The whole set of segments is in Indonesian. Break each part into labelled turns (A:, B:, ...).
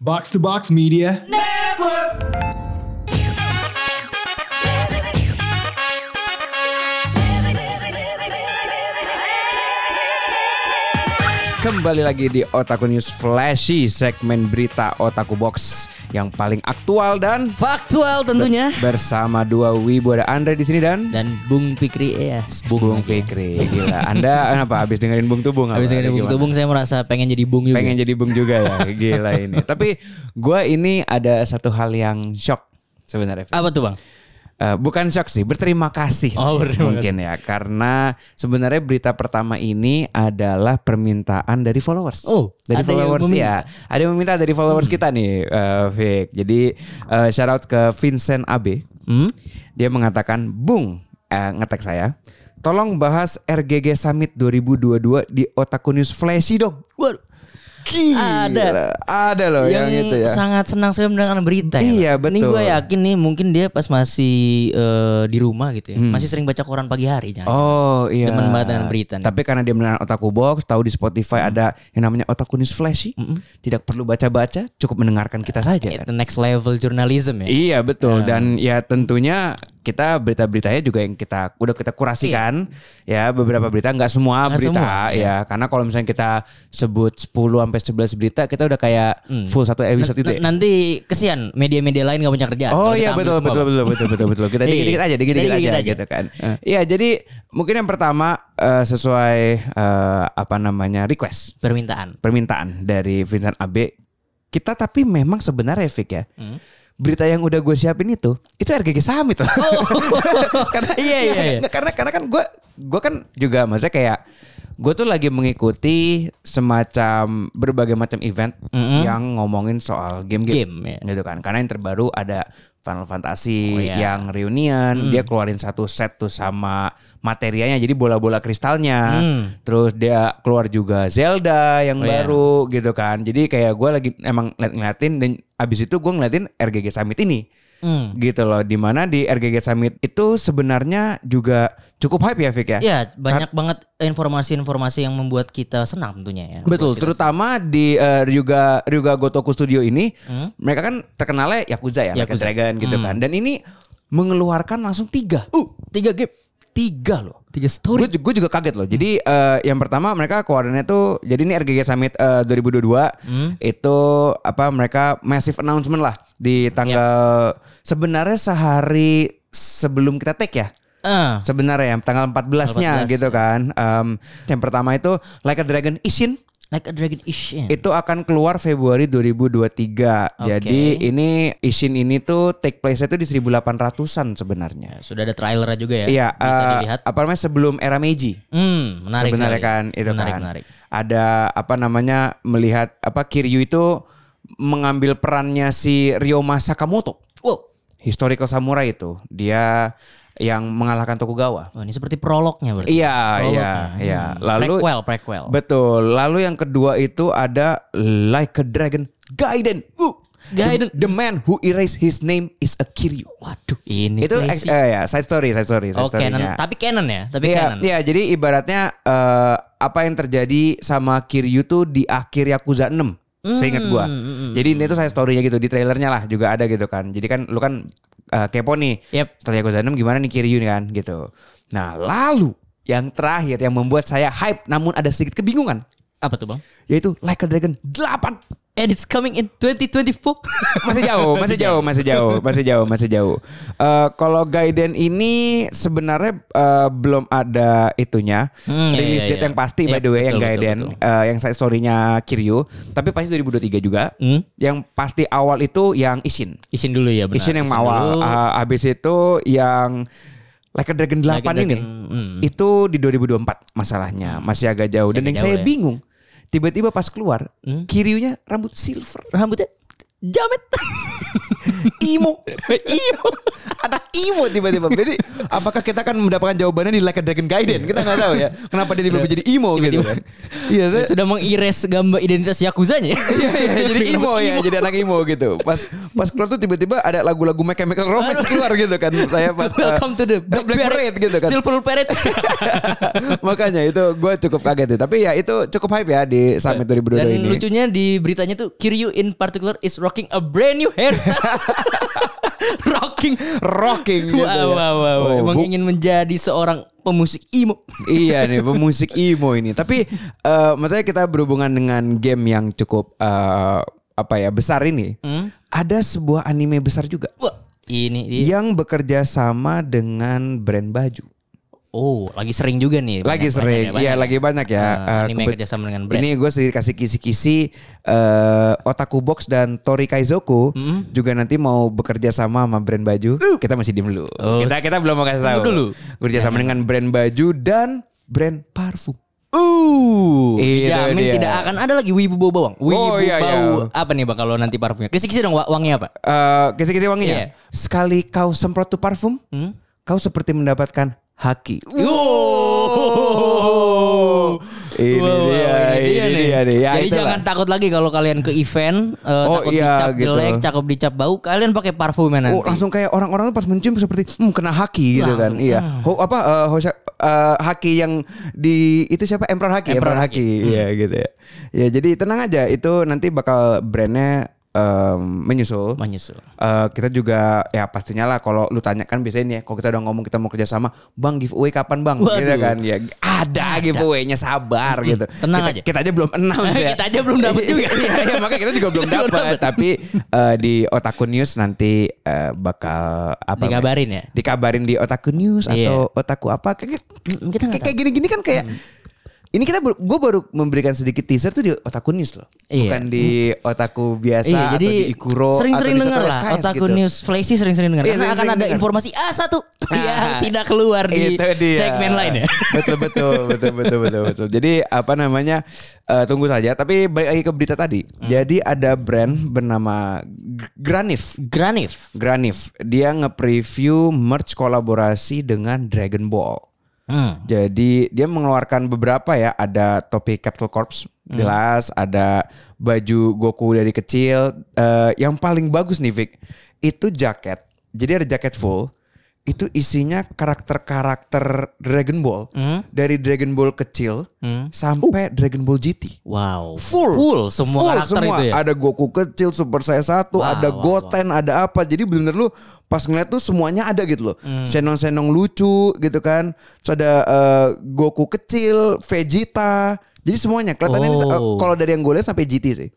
A: Box to Box Media.
B: Kembali lagi di Otaku News Flashy segmen berita Otaku Box yang paling aktual dan
C: Faktual tentunya.
B: bersama dua wibu ada Andre di sini dan
C: Dan Bung Fikri ya.
B: Bung Fikri. Gila, Anda kenapa habis dengerin Bung Tubung? apa?
C: Habis dari Bung
B: Gimana?
C: Tubung saya merasa pengen jadi Bung juga.
B: Pengen jadi Bung juga ya. Gila ini. Tapi gua ini ada satu hal yang shock sebenarnya. Fit.
C: Apa tuh bang?
B: Eh, bukan shock sih, berterima kasih
C: Oh, berterima
B: mungkin ya karena sebenarnya berita pertama ini adalah permintaan dari followers.
C: Oh,
B: dari
C: ada yang
B: followers ya.
C: meminta. Hmm.
B: Ada yang meminta dari followers kita nih, eh, Vic. Jadi eh, shout out ke Vincent Abe.
C: Hmm?
B: Dia mengatakan, "Bung, eh, ngetek saya. Tolong bahas RGG Summit 2022 di Otaku News Flashy dong."
C: Waduh,
B: Gila.
C: Ada.
B: Ada loh yang,
C: yang,
B: itu ya.
C: sangat senang sekali mendengarkan berita.
B: Iya,
C: ya, Bang. Ini
B: betul.
C: gue yakin nih mungkin dia pas masih eh, di rumah gitu ya,
B: Hmm.
C: masih sering baca koran pagi hari. Jangan.
B: Oh iya.
C: Demen banget dengan berita nih.
B: Tapi karena dia mendengar Otaku Box, tahu di Spotify ada yang namanya Otaku News Flashy. Tidak perlu baca-baca, cukup mendengarkan kita saja kan.
C: The next level journalism ya.
B: Iya betul dan ya tentunya kita berita-beritanya juga yang kita udah kita kurasikan ya beberapa berita nggak semua
C: Iya. Nggak
B: berita
C: semua, iya.
B: ya karena kalau misalnya kita sebut 10 sampai 11 berita kita udah kayak
C: Hmm.
B: full satu episode itu ya.
C: N- nanti kesian media-media lain gak punya kerjaan.
B: Oh
C: Kalau
B: iya
C: kita ambil
B: betul
C: semua,
B: betul,
C: Bang.
B: betul betul betul betul kita
C: Iya,
B: dikit-dikit aja dikit-dikit aja,
C: dikit-dikit aja.
B: gitu kan. Iya jadi mungkin yang pertama eh, sesuai eh, apa namanya request
C: Permintaan.
B: permintaan dari Vincent Abe kita tapi memang sebenarnya Fik ya.
C: Hmm.
B: Berita yang udah gue siapin itu itu RGG Summit lah. karena
C: Oh. Iya, iya, iya.
B: karena karena kan gue gue kan juga maksudnya kayak gue tuh lagi mengikuti semacam berbagai macam event yang ngomongin soal game-game
C: Game, ya.
B: gitu kan karena yang terbaru ada Final Fantasy
C: Oh, iya. Mm.
B: yang reunion dia keluarin satu set tuh sama materianya jadi bola-bola kristalnya
C: Mm.
B: terus dia keluar juga Zelda yang
C: iya.
B: baru gitu kan jadi kayak gue lagi emang ngeliat- ngeliatin dan abis itu gue ngeliatin RGG Summit ini
C: Hmm.
B: gitu loh dimana di RGG Summit itu sebenarnya juga cukup hype ya Fik ya
C: Ya banyak banget informasi-informasi yang membuat kita senang tentunya ya.
B: Betul, terutama di eh, Ryuga Ryuga Gotoku Studio ini, mereka kan terkenalnya Yakuza ya, Yakuza.
C: Hmm. Yakuza. Hmm.
B: Dragon gitu kan. Dan ini mengeluarkan langsung tiga, uh,
C: Tiga game,
B: tiga loh.
C: tiga story.
B: Gue juga kaget loh. Jadi
C: Hmm.
B: eh, yang pertama mereka keluarannya tuh, jadi ini RGG Summit eh, 2022
C: Hmm.
B: itu apa mereka massive announcement lah di tanggal
C: Ya.
B: sebenarnya sehari sebelum kita take ya
C: Ah,
B: sebenarnya ya tanggal 14-nya
C: 14,
B: gitu
C: ya.
B: kan. Em, yang pertama itu Like a Dragon Ishin
C: like a dragon ish. Ya.
B: itu akan keluar Februari 2023.
C: Oke.
B: Jadi ini isin ini tuh take place-nya tuh di 1800-an sebenarnya.
C: Ya, Sudah ada trailernya juga ya.
B: Iya,
C: bisa
B: eh,
C: dilihat.
B: apa namanya sebelum era Meiji.
C: Hmm, menarik
B: sebenarnya
C: sekali.
B: kan itu
C: menarik,
B: kan.
C: Menarik.
B: Ada apa namanya melihat apa Kiryu itu mengambil perannya si Ryoma Sakamoto,
C: Wow.
B: historical samurai itu. Dia yang mengalahkan Tokugawa.
C: Oh, ini seperti prolognya berarti.
B: Iya,
C: Prolog
B: iya,
C: ya.
B: iya.
C: Hmm.
B: Lalu
C: prequel, prequel.
B: Betul. Lalu yang kedua itu ada Like a Dragon Gaiden. Uh,
C: Gaiden.
B: The, the man who erased his name is a Kiryu.
C: Waduh, ini
B: Itu eh,
C: crazy.
B: eh, ya side story, side story, side
C: Oh, canon.
B: story-nya.
C: Tapi canon ya, tapi
B: Iya,
C: canon.
B: iya, jadi ibaratnya eh, apa yang terjadi sama Kiryu tuh di akhir Yakuza 6. Seingat gua. Jadi ini tuh saya story-nya gitu di trailernya lah juga ada gitu kan. Jadi kan lu kan eh, kepo nih.
C: Yep.
B: Setelah Yakuza 6 gimana nih Kiryu nih kan gitu. Nah, lalu yang terakhir yang membuat saya hype namun ada sedikit kebingungan
C: Apa tuh, Bang?
B: yaitu Like a Dragon 8.
C: And it's coming in 2024.
B: Masih jauh, masih jauh, masih jauh, masih jauh, masih jauh. Eh, kalau Gaiden ini sebenarnya eh, belum ada itunya.
C: Hmm, iya,
B: Rilis
C: iya,
B: date
C: iya.
B: yang pasti by
C: Iya,
B: the way yang
C: betul, betul,
B: Gaiden, eh, yang side story-nya Kiryu, tapi pasti 2023 juga.
C: Hmm.
B: Yang pasti awal itu yang Ishin.
C: Isin dulu ya, benar.
B: Ishin yang
C: dulu.
B: awal. Eh, habis itu yang Like a Dragon 8
C: Like a
B: ini
C: Dragon, mm.
B: itu di 2024 masalahnya, masih agak jauh
C: Masih
B: dan
C: agak
B: yang
C: jauh
B: saya
C: ya. Hmm?
B: bingung tiba-tiba pas keluar Kiryunya rambut silver.
C: Rambutnya jamet.
B: Imo. Imo. Ada Imo tiba-tiba. Jadi apakah kita akan mendapatkan jawabannya di Like a Dragon Gaiden? Kita nggak tahu ya. Kenapa dia tiba-tiba jadi Imo gitu kan. Iya, saya
C: Sudah mengires gambar identitas yakuzanya.
B: Iya, iya, jadi emo ya, jadi anak emo gitu. Pas pas keluar tuh tiba-tiba ada lagu-lagu My Chemical Romance keluar gitu kan. Saya pas eh,
C: Welcome to the Black,
B: Black Parade gitu kan.
C: Silver Parade.
B: Makanya itu gue cukup kaget tuh. Tapi ya itu cukup hype ya di Summit 2022
C: Dan
B: ini.
C: lucunya di beritanya tuh Kiryu in particular is rocking a brand new hairstyle. rocking.
B: Rocking gitu ya.
C: Wow, wow, wow.
B: Oh,
C: Emang
B: bu-
C: ingin menjadi seorang pemusik emo.
B: iya nih pemusik emo ini. Tapi eh maksudnya kita berhubungan dengan game yang cukup eh, apa ya besar ini.
C: Hmm?
B: Ada sebuah anime besar juga
C: Wah, ini dia.
B: yang bekerja sama dengan brand baju.
C: Oh, lagi sering juga nih.
B: Lagi
C: Banyak-
B: sering,
C: banyak
B: iya lagi banyak ya.
C: Ah,
B: Eh,
C: anime
B: kebet-
C: kerjasama dengan brand.
B: Ini gue sih kasih kisi-kisi eh, Otaku Box dan Tori Kaizoku
C: Hmm?
B: juga nanti mau bekerja sama sama brand baju. Kita masih diem dulu.
C: Uh. Oh,
B: kita kita belum mau kasih tahu.
C: dulu.
B: Bekerja sama dengan brand baju dan brand parfum.
C: Uh,
B: Iya,
C: dijamin
B: dia.
C: tidak akan ada lagi wibu bau bawang. Wibu
B: Oh, iya,
C: bau
B: iya.
C: apa nih bang kalau nanti parfumnya? Kisi-kisi dong wa- wanginya apa?
B: Eh, kisi-kisi wanginya.
C: Iya. Hmm?
B: Sekali kau semprot tuh parfum, kau seperti mendapatkan haki. Oh.
C: Oh. Wow.
B: Ini
C: Wow, wow,
B: dia, ini dia, nih. Ya,
C: Jadi
B: itulah.
C: jangan takut lagi kalau kalian ke event, eh,
B: Oh,
C: takut
B: iya,
C: dicap
B: gitu.
C: jelek, cakep dicap bau, kalian pakai parfumnya nanti.
B: Oh, langsung kayak orang-orang tuh pas mencium seperti hmm, kena haki gitu
C: Langsung, ah.
B: kan. Iya. Ho, apa eh, Hosha- eh, haki yang di itu siapa Emperor Haki, Emperor, Haki. Iya
C: Hmm.
B: gitu ya. Ya, jadi tenang aja itu nanti bakal brandnya em, menyusul.
C: menyusul.
B: Eh, kita juga ya pastinya lah kalau lu tanya kan biasanya nih ya, kalau kita udah ngomong kita mau kerjasama bang giveaway kapan bang gitu
C: Waduh. Hmm,
B: kan ya ada giveaway-nya sabar gitu
C: tenang
B: kita,
C: aja.
B: kita aja belum announce ya
C: Kita aja belum dapet juga.
B: Iya, iya, makanya kita juga belum
C: Kita belum
B: dapat
C: dapet.
B: tapi eh, di otaku news nanti eh, bakal apa
C: Dikabarin ya?
B: dikabarin di otaku news
C: Iya.
B: atau otaku apa kayak
C: kita nggak Hmm.
B: kayak kayak gini-gini kan kayak Ini kita gue baru memberikan sedikit teaser tuh di otaku news loh,
C: Iya.
B: bukan di otaku biasa
C: Iya,
B: atau di ikuro
C: sering-sering
B: atau di
C: dengar
B: Satu
C: lah
B: SKS
C: Otaku
B: gitu.
C: News Flashy sering-sering dengar.
B: Iya,
C: Karena akan
B: sering-sering
C: ada
B: dengar.
C: informasi A1 yang
B: Ah,
C: tidak keluar di
B: itu dia.
C: segmen lain ya.
B: Betul betul betul betul betul betul. Jadi apa namanya eh, tunggu saja. Tapi balik lagi ke berita tadi.
C: Hmm.
B: Jadi ada brand bernama G- Granif.
C: Granif.
B: Granif dia nge-preview merch kolaborasi dengan Dragon Ball.
C: Hmm.
B: Jadi dia mengeluarkan beberapa ya, ada topi Capital Corps
C: Hmm.
B: jelas, ada baju Goku dari kecil. Eh, yang paling bagus nih Vic, itu jaket. Jadi ada jaket full, itu isinya karakter-karakter Dragon Ball
C: Hmm?
B: dari Dragon Ball kecil sampai Dragon Ball GT.
C: Wow.
B: Full,
C: Hmm? Uh. Full semua
B: Full
C: karakter
B: semua.
C: itu ya.
B: Ada Goku kecil, Super Saiyan 1,
C: Wah,
B: ada
C: wah,
B: Goten, ada apa. Jadi bener lu pas ngeliat tuh semuanya ada gitu loh.
C: Hmm.
B: Senong-senong lucu gitu kan. Terus ada eh, Goku kecil, Vegeta. Jadi semuanya kelihatannya ini, eh,
C: Oh.
B: kalau dari yang gue lihat sampai GT sih.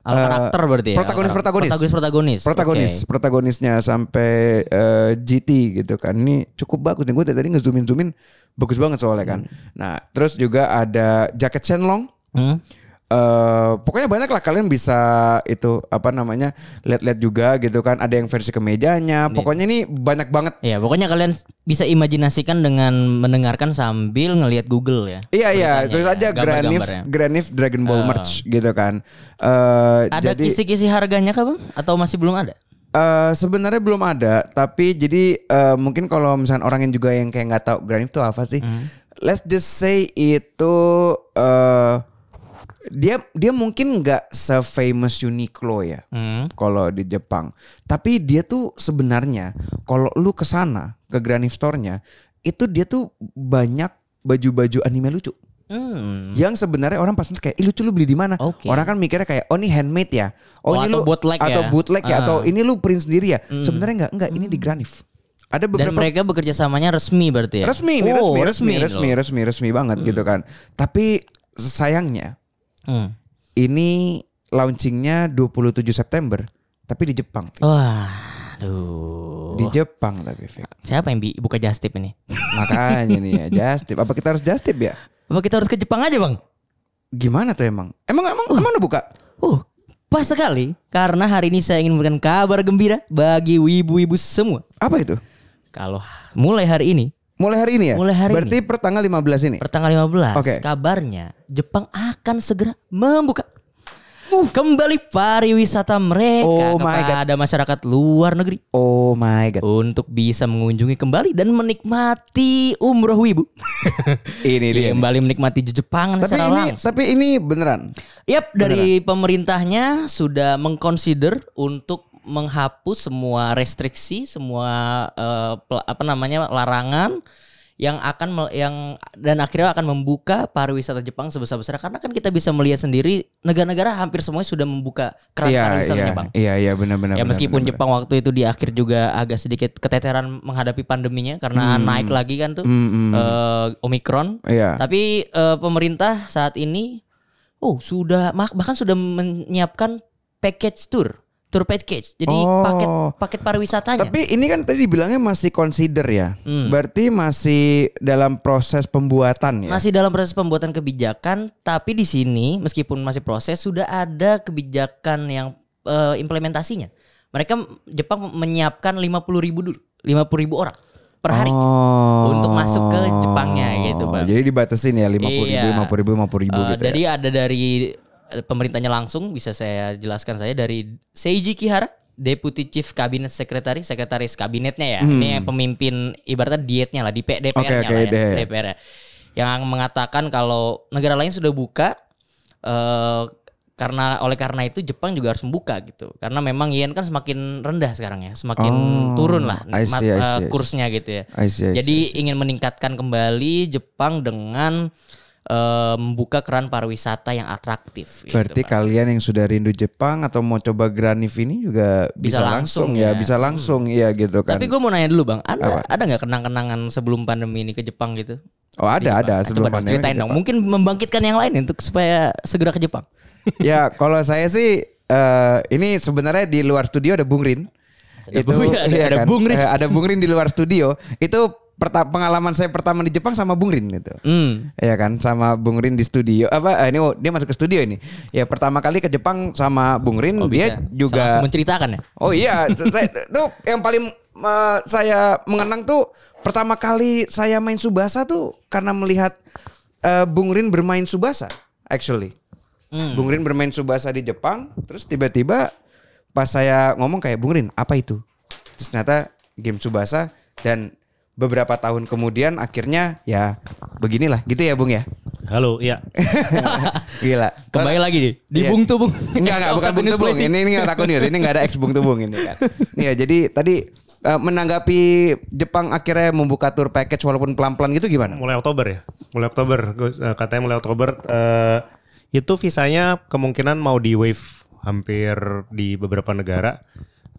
B: Eh,
C: Al karakter berarti ya.
B: protagonis- protagonis.
C: Protagonis protagonis.
B: Protagonis, protagonisnya sampai eh, GT gitu kan. Ini cukup bagus nih. Gue tadi ngezoomin zoomin bagus banget soalnya kan.
C: Hmm.
B: Nah, terus juga ada jaket Shenlong.
C: Oke. Hmm.
B: eh pokoknya banyak lah kalian bisa itu apa namanya lihat-lihat juga gitu kan ada yang versi kemejanya pokoknya ini banyak banget
C: Ya pokoknya kalian bisa imajinasikan dengan mendengarkan sambil ngelihat Google ya.
B: iya iya
C: Beritanya
B: terus
C: ya,
B: aja Granif
C: gambar-gambarnya. Ah.
B: Granif Dragon Ball merch gitu kan eh
C: Ada
B: jadi
C: kisi-kisi harganya kah bang? Atau masih belum ada?
B: eh, sebenarnya belum ada tapi jadi eh, mungkin kalau misalnya orang yang juga yang kayak nggak tahu Granif tuh apa sih let's just say itu eh dia dia mungkin nggak se-famous Uniqlo ya
C: Hmm.
B: kalau di Jepang. Tapi dia tuh sebenarnya kalau lu ke sana ke Granif Store-nya itu dia tuh banyak baju-baju anime lucu.
C: Hmm.
B: Yang sebenarnya orang pas ngeliat kayak Ih, lucu lu beli di mana?
C: Oke.
B: Orang kan mikirnya kayak oh ini handmade ya.
C: Oh,
B: ini
C: atau bootleg ya.
B: atau bootleg ya
C: Ah. Hmm.
B: atau ini lu print sendiri ya. Sebenarnya enggak, enggak ini di Granif. Ada
C: Dan
B: beberapa
C: mereka bekerja samanya resmi berarti ya.
B: resmi, ini
C: Oh,
B: resmi, resmi,
C: loh.
B: resmi, resmi, resmi banget gitu kan. Tapi sayangnya
C: Hmm.
B: ini launchingnya 27 September tapi di Jepang.
C: Wah, aduh.
B: Di Jepang tapi Vic.
C: Siapa yang bi- buka just tip ini?
B: Makanya nih ya just tip. Apa kita harus just tip ya?
C: Apa kita harus ke Jepang aja bang?
B: Gimana tuh emang? Emang emang emang udah buka?
C: Uh, pas sekali karena hari ini saya ingin memberikan kabar gembira bagi wibu-wibu semua.
B: Apa itu?
C: Kalau mulai hari ini,
B: Mulai hari ini ya?
C: Mulai hari
B: Berarti per tanggal 15 ini?
C: pertanggal 15,
B: Oke.
C: kabarnya Jepang akan segera membuka kembali pariwisata mereka
B: Uh. Oh my God.
C: kepada masyarakat luar negeri
B: Oh my god.
C: untuk bisa mengunjungi kembali dan menikmati umroh wibu. Iya,
B: Ini dia.
C: kembali menikmati Jepangan
B: Tapi
C: secara
B: ini
C: langsung.
B: tapi ini beneran.
C: Yap, dari pemerintahnya sudah mengconsider untuk menghapus semua restriksi, semua eh, pel- apa namanya larangan yang akan mel- yang dan akhirnya akan membuka pariwisata Jepang sebesar-besarnya karena kan kita bisa melihat sendiri negara-negara hampir semuanya sudah membuka keran
B: Iya
C: pariwisata
B: iya
C: Jepang.
B: iya iya benar-benar.
C: Ya meskipun Jepang waktu itu di akhir juga agak sedikit keteteran menghadapi pandeminya karena
B: Hmm.
C: naik lagi kan tuh eh, Omikron.
B: Mm, Iya.
C: Tapi eh, pemerintah saat ini oh sudah mah- bahkan sudah menyiapkan package tour, tour package. Jadi
B: Oh.
C: paket paket pariwisatanya.
B: Tapi ini kan tadi bilangnya masih consider ya.
C: Hmm.
B: Berarti masih dalam proses pembuatan ya.
C: Masih dalam proses pembuatan kebijakan, tapi di sini meskipun masih proses sudah ada kebijakan yang eh, implementasinya. Mereka Jepang menyiapkan 50.000 ribu dulu, 50.000 ribu orang per hari.
B: Oh.
C: untuk masuk ke Jepangnya gitu, Bang.
B: Jadi dibatasin ya 50 ribu,
C: Iya.
B: 50 ribu, 50 ribu
C: Eh,
B: gitu ya.
C: Jadi ada dari eh, pemerintahnya langsung bisa saya jelaskan saya dari Seiji Kihara, Deputy Chief Cabinet Secretary, sekretaris kabinetnya ya. Ini yang pemimpin ibaratnya dietnya lah di DPR-nya
B: Hmm. oke,
C: lah ya,
B: deh.
C: DPR -nya. Yang mengatakan kalau negara lain sudah buka eh karena oleh karena itu Jepang juga harus membuka gitu. Karena memang yen kan semakin rendah sekarang ya, semakin
B: Oh,
C: turun lah
B: I
C: mat-
B: see, I
C: eh,
B: see, I see.
C: kursnya gitu ya.
B: I see, I see,
C: Jadi ingin meningkatkan kembali Jepang dengan eh, membuka keran pariwisata yang atraktif. gitu,
B: Berarti
C: Pak.
B: kalian yang sudah rindu Jepang atau mau coba Granif ini juga bisa,
C: Bisa
B: langsung,
C: langsung
B: ya,
C: ya.
B: bisa langsung ya gitu kan.
C: Tapi gue mau nanya dulu bang, ada ada nggak kenang-kenangan sebelum pandemi ini ke Jepang gitu?
B: oh ada ada
C: Nah,
B: sebelum
C: Coba dong,
B: pandemi
C: ceritain
B: ke
C: dong.
B: Jepang.
C: Mungkin membangkitkan yang lain untuk supaya segera ke Jepang.
B: ya kalau saya sih eh, ini sebenarnya di luar studio ada Bung Rin.
C: Ada Bung- ada-
B: iya
C: ada Bung Rin.
B: Eh, ada Bung Rin di luar studio. Itu perta- pengalaman saya pertama di Jepang sama Bung Rin gitu.
C: Hmm.
B: Iya kan sama Bung Rin di studio apa eh, ini oh, dia masuk ke studio ini ya pertama kali ke Jepang sama Bung Rin Oh, dia
C: Oh, bisa.
B: juga
C: Langsung menceritakan ya.
B: Oh iya, saya, tuh yang paling eh, saya mengenang tuh pertama kali saya main Subasa tuh karena melihat eh, Bung Rin bermain Subasa actually. Bung Rin bermain Subasa di Jepang, terus tiba-tiba pas saya ngomong kayak Bung Rin, apa itu? Terus ternyata game Subasa dan beberapa tahun kemudian akhirnya ya beginilah gitu ya Bung ya.
A: Halo, iya.
B: Eh, Gila.
C: Kembali lagi nih, di
B: Iya.
C: Bung Tubung.
B: Enggak, enggak, bukan Bung Tubung. Ini ini enggak takut Ini enggak ada ex Bung Tubung ini kan. Iya, jadi tadi eh, menanggapi Jepang akhirnya membuka tour package walaupun pelan-pelan gitu gimana?
A: Mulai Oktober ya? Mulai Oktober. Gua, eh, katanya mulai Oktober eh, itu visanya kemungkinan mau di wave hampir di beberapa negara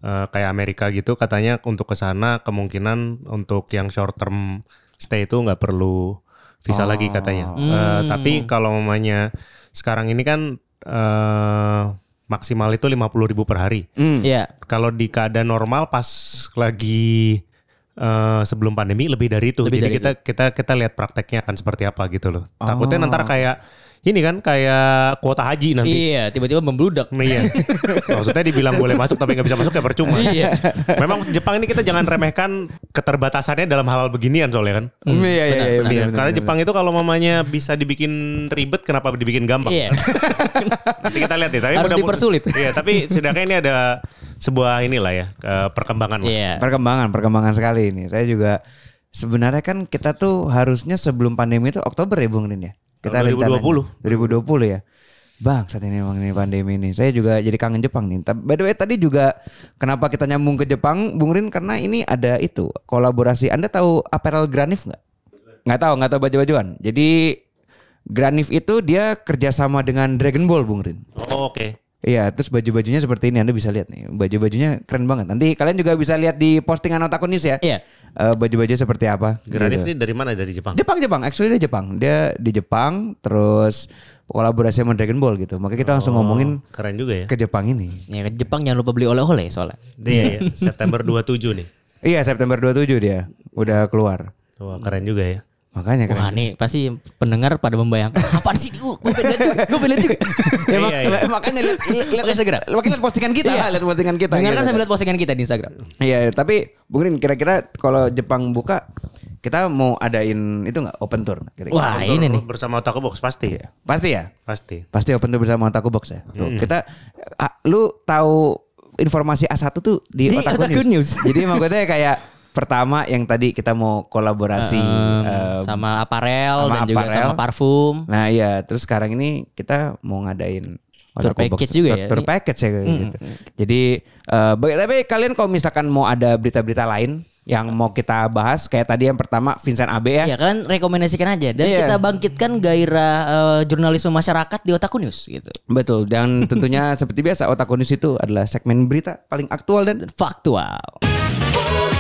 A: Eh, kayak Amerika gitu katanya untuk ke sana kemungkinan untuk yang short term stay itu nggak perlu visa lagi katanya. Eh, tapi kalau mamanya sekarang ini kan eh, maksimal itu 50.000 per hari.
B: hmm.
C: Iya.
A: kalau di keadaan normal pas lagi eh, sebelum pandemi lebih dari itu. Jadi kita kita kita lihat prakteknya akan seperti apa gitu loh. Takutnya nanti kayak ini kan kayak kuota haji nanti.
C: Iya, tiba-tiba membludak.
A: Nah, Iya. Maksudnya dibilang boleh masuk tapi nggak bisa masuk ya percuma.
C: Iya.
A: Memang Jepang ini kita jangan remehkan keterbatasannya dalam hal-hal beginian soalnya kan.
B: Hmm, iya, iya, iya,
A: Iya,
B: benar, benar,
A: karena
B: benar.
A: Jepang itu kalau mamanya bisa dibikin ribet, kenapa dibikin gampang?
C: Iya.
A: Nanti kita lihat ya. Tapi
C: Harus
A: mudah-mudahan-
C: dipersulit.
A: Iya, tapi setidaknya ini ada sebuah inilah ya eh, perkembangan. lah.
C: Iya.
B: Perkembangan, perkembangan sekali ini. Saya juga sebenarnya kan kita tuh harusnya sebelum pandemi itu Oktober ya Bung Rin ya. Kita
A: Tahun 2020.
B: rencananya. 2020 ya. Bang, saat ini emang ini pandemi ini. Saya juga jadi kangen Jepang nih. Ta- By the way, tadi juga kenapa kita nyambung ke Jepang, Bung Rin? Karena ini ada itu kolaborasi. Anda tahu Apparel Granif nggak? Nggak tahu, nggak tahu baju-bajuan. Jadi Granif itu dia kerjasama dengan Dragon Ball, Bung Rin.
A: Oh, Oke.
B: Iya, terus baju-bajunya seperti ini Anda bisa lihat nih. Baju-bajunya keren banget. Nanti kalian juga bisa lihat di postingan Otaku News ya.
C: Iya.
B: Eh, baju-baju seperti apa?
A: Granif ini dari mana? Dari Jepang.
B: Jepang, Jepang. Actually dia Jepang. Dia di Jepang terus kolaborasi sama Dragon Ball gitu. Makanya kita
C: Oh.
B: langsung ngomongin
A: Keren juga ya.
B: ke Jepang ini.
C: Ya, ke Jepang jangan lupa beli oleh-oleh soalnya.
A: Iya, iya. September 27 nih.
B: Iya, September 27 dia udah keluar.
A: Wah, keren juga ya.
B: Makanya keren.
C: Wah nih pasti pendengar pada membayangkan apaan sih uh, gue pengen lihat juga gue pengen lihat juga
B: Ya, mak-
A: Iya, iya.
B: makanya lihat lihat
C: Pakai Instagram.
B: Makanya lihat postingan kita lah, lihat postingan kita.
C: Iya. dengarkan
B: gitu.
C: sambil lihat postingan kita di Instagram
B: Iya, tapi Bung Rin kira-kira kalau Jepang buka Kita mau adain itu nggak open tour nggak kira-kira?
C: Wah ini nih.
A: Bersama Otaku Box pasti. ya
B: Pasti ya.
A: Pasti.
B: Pasti open tour bersama Otaku Box ya. Tuh, kita ah, lu tahu informasi A1 tuh di,
C: Di
B: Otaku,
C: Otaku
B: News.
C: News.
B: Jadi maksudnya kayak pertama yang tadi kita mau kolaborasi eh,
C: sama aparel
B: sama
C: dan juga
B: aparel.
C: sama parfum.
B: Nah iya, terus sekarang ini kita mau ngadain
C: Tour
B: Otaku Box.
C: package juga
B: Tour-
C: ya,
B: Tour
C: ini.
B: package ya kayak gitu. Jadi eh, baga- tapi kalian kalau misalkan mau ada berita-berita lain yang mau kita bahas kayak tadi yang pertama Vincent Abe ya.
C: Ya kalian rekomendasikan aja dan
B: Iya.
C: kita bangkitkan gairah eh, jurnalisme masyarakat di Otaku News gitu.
B: Betul dan tentunya seperti biasa Otaku News itu adalah segmen berita paling aktual dan
C: Faktual.
D: Otaku